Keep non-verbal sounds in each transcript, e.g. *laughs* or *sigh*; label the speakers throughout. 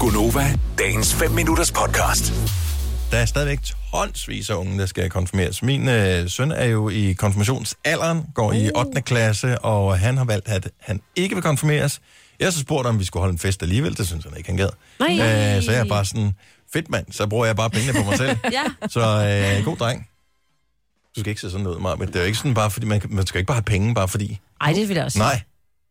Speaker 1: Gunova, dagens 5 minutters podcast.
Speaker 2: der er stadigvæk tonsvis af unge, der skal konfirmeres. Min øh, søn er jo i konfirmationsalderen, går i 8. klasse, og han har valgt, at han ikke vil konfirmeres. Jeg har så spurgt, om vi skulle holde en fest alligevel. Det synes han ikke, han gad.
Speaker 3: Nej.
Speaker 2: Øh, så jeg er bare sådan, fedt mand, så bruger jeg bare pengene på mig selv.
Speaker 3: Ja.
Speaker 2: Så øh, god dreng. Du skal ikke se sådan ud, Maja, men det er jo ikke sådan bare, fordi man, kan- man skal ikke bare have penge, bare fordi.
Speaker 3: Ej, det vil jeg også.
Speaker 2: Nej,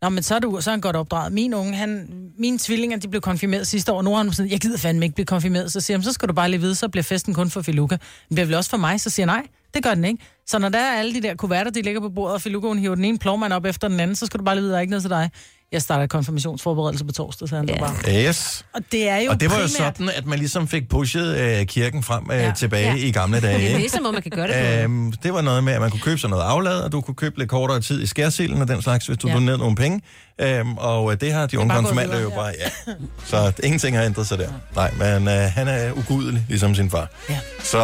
Speaker 4: Nå, men så er, du, så er han godt opdraget. Min unge, han, mine tvillinger, de blev konfirmeret sidste år. Nu er han sådan, jeg gider fandme ikke blive konfirmeret. Så siger han, så skal du bare lige vide, så bliver festen kun for Filuka. Den bliver vel også for mig, så siger jeg, nej, det gør den ikke. Så når der er alle de der kuverter, de ligger på bordet, og Filuka, hun hiver den ene plovmand op efter den anden, så skal du bare lige vide, der er ikke noget til dig. Jeg starter konfirmationsforberedelse på torsdag, så han yeah.
Speaker 3: Ja.
Speaker 4: bare.
Speaker 2: yes.
Speaker 4: Og det er jo
Speaker 2: Og det var jo
Speaker 4: primært...
Speaker 2: sådan, at man ligesom fik pushet øh, kirken frem øh, ja.
Speaker 4: Ja.
Speaker 2: tilbage ja.
Speaker 3: Ja.
Speaker 2: i gamle
Speaker 3: *laughs*
Speaker 2: dage.
Speaker 3: Det er
Speaker 2: ikke?
Speaker 3: ligesom, hvor man kan gøre det på.
Speaker 2: Øhm, det var noget med, at man kunne købe sig noget aflad, og du kunne købe lidt kortere tid i skærsilden og den slags, hvis du ja.
Speaker 4: Ja.
Speaker 2: donerede nogle penge. Øhm, og øh, det har de unge
Speaker 4: bare gået
Speaker 2: konfirmander jo
Speaker 4: videre,
Speaker 2: bare, ja. Så ingenting har ændret sig der. Nej, men øh, han er ugudelig, ligesom sin far.
Speaker 4: Ja.
Speaker 2: Så,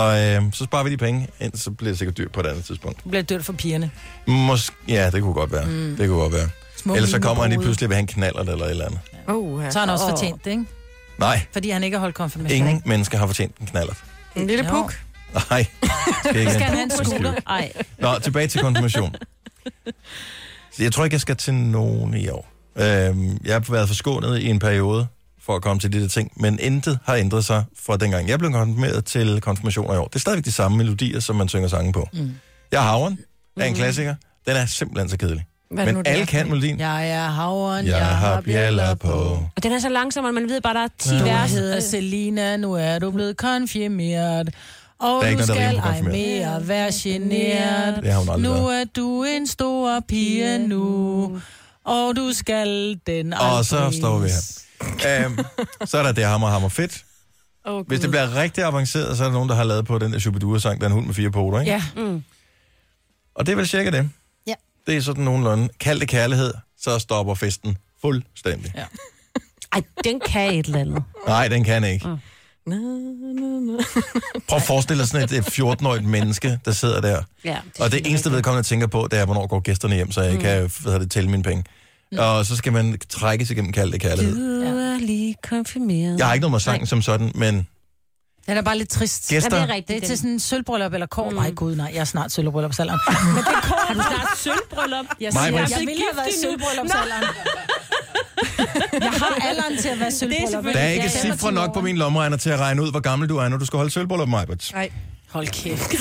Speaker 2: øh, så sparer vi de penge, ind, så bliver det sikkert dyrt på et andet tidspunkt.
Speaker 4: Det bliver dyrt for pigerne.
Speaker 2: Mås- ja, det kunne godt være. Mm. Det kunne godt være.
Speaker 4: Små
Speaker 2: Ellers så
Speaker 4: mine
Speaker 2: kommer han lige
Speaker 4: brude.
Speaker 2: pludselig ved han knaller eller et eller andet.
Speaker 5: Oh,
Speaker 4: Så har han også fortjent det, ikke?
Speaker 2: Nej,
Speaker 4: Fordi han ikke har holdt konfirmation.
Speaker 2: ingen mennesker har fortjent en knaller.
Speaker 5: En lille
Speaker 4: Jo.
Speaker 5: puk.
Speaker 4: *laughs*
Speaker 2: Nej. Skal ikke
Speaker 4: Skal han have en skulder?
Speaker 3: Ej,
Speaker 2: Nå, tilbage til konfirmation. Så jeg tror ikke, jeg skal til nogen i år. Øhm, jeg har været forskånet i en periode for at komme til de der ting, men intet har ændret sig fra dengang jeg blev konfirmeret til konfirmationer i år. Det er stadigvæk de samme melodier, som man synger sange på. Mm. Jeg har havren, er en klassiker. Den er simpelthen så kedelig.
Speaker 5: Mm. er det
Speaker 2: Men
Speaker 5: nu, det
Speaker 2: alle
Speaker 5: er for
Speaker 2: kan
Speaker 5: en?
Speaker 2: melodien. Ja.
Speaker 4: Jeg er havren,
Speaker 2: Jeg har bjæller på.
Speaker 3: og den er så langsom, at man ved bare, der er 10
Speaker 4: Du
Speaker 3: vers.
Speaker 4: hedder Selina, nu er du blevet konfirmeret. Og
Speaker 2: Der er ikke
Speaker 4: du
Speaker 2: noget, der
Speaker 4: skal
Speaker 2: rimer på
Speaker 4: ej
Speaker 2: konfirmeret.
Speaker 4: mere være generet.
Speaker 2: Det har hun aldrig
Speaker 4: Nu
Speaker 2: været.
Speaker 4: er du en stor pige nu. Og du skal den aldrig.
Speaker 2: Og så står vi her. Øhm, så er der det hammer, hammer fedt.
Speaker 5: Oh,
Speaker 2: Hvis det bliver rigtig avanceret, så er der nogen, der har lavet på den der Shubidua-sang, der er en hund med fire poter, ikke?
Speaker 4: Ja,
Speaker 3: Mm.
Speaker 2: Og det er vel cirka det.
Speaker 4: Ja.
Speaker 2: Det er sådan nogenlunde. Kald det kærlighed, så stopper festen fuldstændig. Ja.
Speaker 4: Ja.
Speaker 3: Ej, den kan et eller andet.
Speaker 2: Nej, den kan ikke. Mm. Prøv at forestille dig sådan et øh, 14-årigt menneske, der sidder der.
Speaker 3: Ja,
Speaker 2: Og det eneste vedkommende tænker på, det er, hvornår går gæsterne hjem, så jeg mm. kan hvad hedder det, tælle mine penge. Mm. Og så skal man trækkes igennem kald det kærlighed.
Speaker 3: Du er lige konfirmeret.
Speaker 2: Jeg har ikke noget med sangen som sådan, men
Speaker 4: den er bare lidt trist.
Speaker 2: gæster...
Speaker 3: Ja, det er rigtigt.
Speaker 4: Det er
Speaker 3: den.
Speaker 4: til sådan en sølvbryllup eller kår. Mm. Nej, gud, nej, jeg er snart
Speaker 2: *laughs*
Speaker 4: sølvbryllupsalderen. Men det er kår,
Speaker 3: Har du snart sølvbryllup? Jeg
Speaker 2: Maja,
Speaker 3: siger,
Speaker 2: men-
Speaker 3: jeg
Speaker 4: jeg ville have været sølvbryllupsalderen. *laughs* Jeg har alderen til at være sølvbryllup.
Speaker 2: Der er ikke
Speaker 3: Ja, ja.
Speaker 2: cifre nok på min lommeregner til at regne ud, hvor gammel du er, når du skal holde sølvbryllup, Majbert.
Speaker 5: Nej.
Speaker 4: Hold kæft.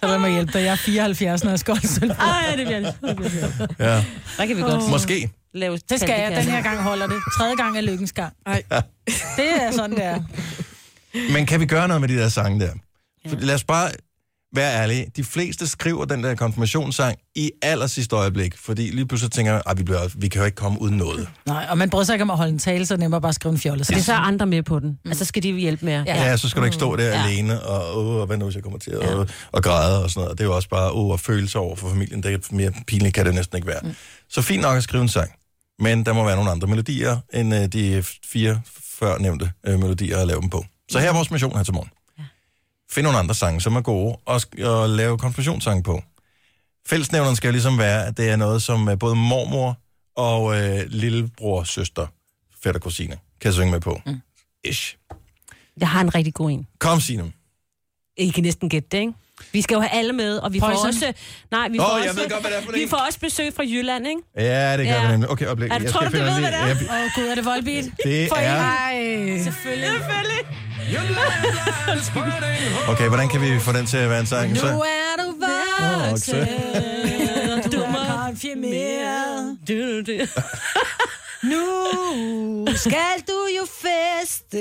Speaker 4: Så lad mig hjælpe dig. Jeg er 74, når jeg skal holde sølv.
Speaker 3: Ej, det bliver det.
Speaker 2: Ja.
Speaker 3: Der kan vi godt
Speaker 2: Måske.
Speaker 3: lave
Speaker 4: Det skal jeg. Den her gang holder det. Tredje gang er lykkens gang.
Speaker 5: Ej.
Speaker 4: Det er sådan, det er.
Speaker 2: Men kan vi gøre noget med de der sange der? Ja. Lad os bare være ærlige. De fleste skriver den der konfirmationssang i aller sidste øjeblik, fordi lige pludselig tænker man, at vi, bliver, vi kan jo ikke komme uden noget.
Speaker 4: Nej, og man bryder sig ikke om at holde en tale, så er det nemmere bare at skrive en fjolle.
Speaker 3: Det er så andre med på den. Altså, skal de hjælpe med.
Speaker 2: Ja, ja så skal du ikke stå der ja. alene og, åh, og hvad nu, hvis jeg kommer til at ja. og græde og sådan noget. Det er jo også bare åh, at føle sig over for familien. Det er mere pinligt kan det næsten ikke være. Mm. Så fint nok at skrive en sang, men der må være nogle andre melodier, end øh, de fire før nævnte øh, melodier at lave dem på. Så her er vores mission her til morgen. Find nogle andre sange, som er gode, og, sk- og lave konfirmationssange på. Fællesnævneren skal jo ligesom være, at det er noget, som øh, både mormor og øh, lillebror, søster, fætter, kusine kan synge med på. Mm. Ish.
Speaker 3: Jeg har en rigtig god en.
Speaker 2: Kom, Signe.
Speaker 3: I kan næsten gætte det, ikke? Vi skal jo have alle med, og vi får
Speaker 4: Poison.
Speaker 3: også... Nej, vi
Speaker 2: Nå,
Speaker 3: får,
Speaker 2: jeg
Speaker 3: også,
Speaker 2: ved godt, hvad det er for
Speaker 3: vi
Speaker 2: en.
Speaker 3: får også besøg fra Jylland, ikke?
Speaker 2: Ja, det gør ja.
Speaker 3: Ja.
Speaker 2: vi nemlig. Okay, øjeblik.
Speaker 3: Er du-
Speaker 2: Jeg
Speaker 3: tror
Speaker 2: skal
Speaker 3: du, du
Speaker 2: finde
Speaker 3: ved,
Speaker 2: lige-
Speaker 3: hvad det
Speaker 4: Åh oh, gud, er det Volbeat?
Speaker 2: Ja, det er...
Speaker 3: Selvfølgelig.
Speaker 2: Okay, hvordan kan vi få den til at være en sang?
Speaker 4: Nu
Speaker 2: Så...
Speaker 4: er du voksen,
Speaker 3: Og
Speaker 4: du
Speaker 3: du må
Speaker 4: er konfirmeret.
Speaker 3: Du, du, du.
Speaker 4: Nu skal du jo feste.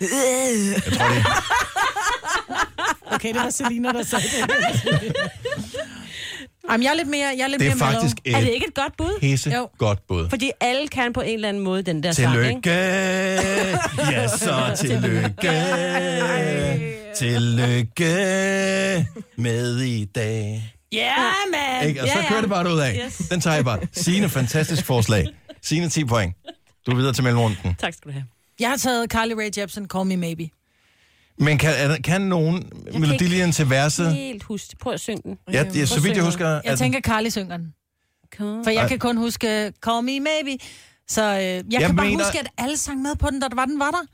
Speaker 2: Jeg tror, det er...
Speaker 4: Okay, det var Selina, der sagde det. Jamen, jeg er lidt mere... Jeg er lidt
Speaker 2: det er
Speaker 4: mere mellow.
Speaker 2: faktisk
Speaker 3: Er det
Speaker 2: et
Speaker 3: ikke et godt bud?
Speaker 2: pisse
Speaker 4: Jo.
Speaker 2: godt bud.
Speaker 3: Fordi alle kan på en eller anden måde den der sang, ikke?
Speaker 2: Tillykke! Ja,
Speaker 3: *laughs*
Speaker 2: så tillykke! Tillykke med i dag.
Speaker 3: Ja, yeah,
Speaker 2: Ikke? Og så
Speaker 3: Ja, ja.
Speaker 2: kører det bare ud af.
Speaker 3: Yes.
Speaker 2: Den tager jeg bare. Signe, fantastisk forslag. Signe, 10 point. Du er videre til mellemrunden.
Speaker 3: Tak skal du have.
Speaker 4: Jeg har taget Carly Rae Jepsen, Call Me Maybe.
Speaker 2: Men kan, er der- kan nogen melodien til verset?
Speaker 3: Helt husk. Prøv at synge den.
Speaker 2: Ja, ja, så vidt jeg husker... er
Speaker 4: Jeg
Speaker 2: den-
Speaker 4: tænker, Carly synger den.
Speaker 3: Kom.
Speaker 4: For jeg
Speaker 2: Ej.
Speaker 4: kan kun huske, call me maybe. Så øh, jeg, jeg kan bare mener... huske, at alle sang med på den, da der var den var der.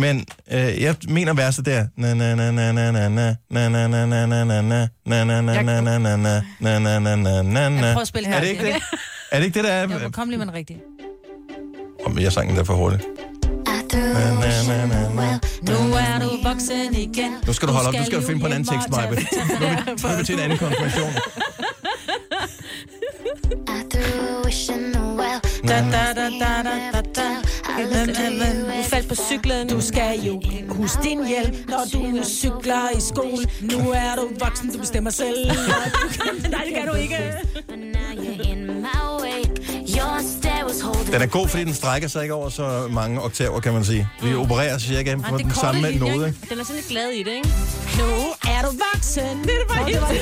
Speaker 2: Men øh, jeg mener verset der. Na na na na na na na na na na na na na na na na na na na na na na na na na na na
Speaker 4: Jeg prøver at spille her.
Speaker 2: Er det ikke det? Er det ikke det, der er?
Speaker 4: Jo, men kom lige med den rigtige.
Speaker 2: Om jeg sang den der for hurtigt.
Speaker 5: I threw ocean well.
Speaker 4: Nu er du voksen igen.
Speaker 2: Nu skal du holde op. Du skal finde på en anden tekst, Maja.
Speaker 4: mig.
Speaker 2: *laughs* Nu er vi til en anden konfirmation.
Speaker 5: I threw ocean well.
Speaker 4: Da, da, da, da, da, da, da.
Speaker 3: Du faldt på cyklen.
Speaker 4: Du skal jo huske din hjælp, når du cykler i skole. Nu er du voksen, du bestemmer selv.
Speaker 3: Nej, det kan du ikke.
Speaker 5: But now you're in my way. Your stare was holding.
Speaker 2: Den er
Speaker 5: *laughs*
Speaker 2: god, fordi den strækker sig ikke over så mange oktaver, kan man sige. Vi opererer cirka på den samme node. ikke?
Speaker 3: Den er sådan lidt glad i det, ikke?
Speaker 4: Nu er du voksen. Det er bare det. *laughs*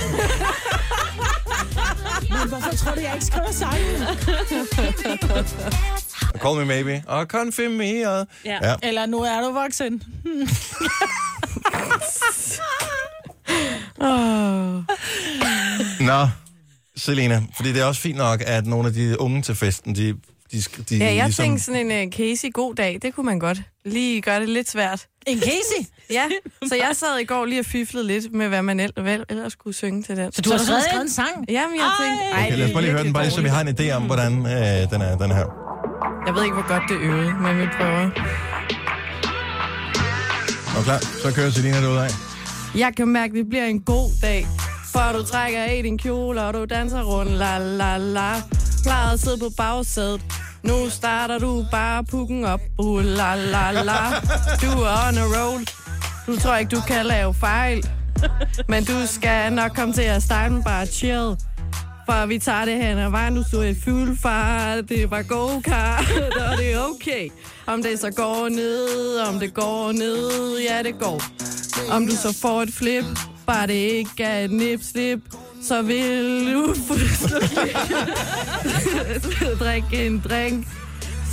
Speaker 4: Men hvorfor tror du, jeg ikke skriver sangen?
Speaker 2: Call me maybe. Og konfirmeret.
Speaker 3: Ja.
Speaker 2: ja.
Speaker 4: Eller nu er du voksen. Hmm.
Speaker 2: Nå, Selena, fordi det er også fint nok, at nogle af de unge til festen, de, de, sk- de
Speaker 6: Ja, jeg ligesom... tænkte sådan en uh, Casey god dag, det kunne man godt. Lige gøre det lidt svært.
Speaker 4: En Casey.
Speaker 2: *laughs*
Speaker 6: Ja, så jeg sad i går lige og fiflede lidt med, hvad man ell- vel ellers skulle synge til den. Så
Speaker 4: Du har skrevet en sang.
Speaker 6: Jamen, jeg tænkte... Ej,
Speaker 2: Okay, lad os bare lige høre den, bare lige så vi har en idé om, hvordan øh, den er, den her.
Speaker 6: Jeg ved ikke, hvor godt det øvede, men vi prøver.
Speaker 2: Og klar, så kører Selina det ud af.
Speaker 6: Jeg kan mærke, det bliver en god dag. For du trækker af din kjole, og du danser rundt, la la la. Plejer at sidde på bagsædet. Nu starter du bare pukken op, uh, la la la. Du er on a roll. Du tror ikke, du kan lave fejl. Men du skal nok komme til at starte med bare chill. For vi tager det hen ad vejen, du stod i fuld fart. Det var go-kart, *laughs* og det er okay. Om det så går ned, om det går ned, ja det går. Om du så får et flip, bare det ikke er et nip-slip, så vil du fuldstændig *laughs* drikke en drink.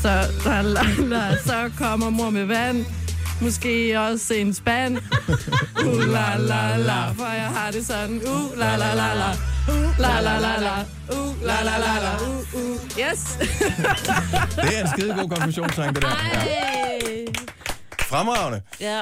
Speaker 6: Så, la, la, la, så kommer mor med vand. Måske også en spand. Uh, la, la, la, for jeg har det sådan. Uh, la, la, la, la. Uh, la, la, la, la. Uh, la, la, la, la. Uh, uh. Yes.
Speaker 2: Det er en skide god konfirmationssang, det der. Ja. Fremragende.
Speaker 3: Ja.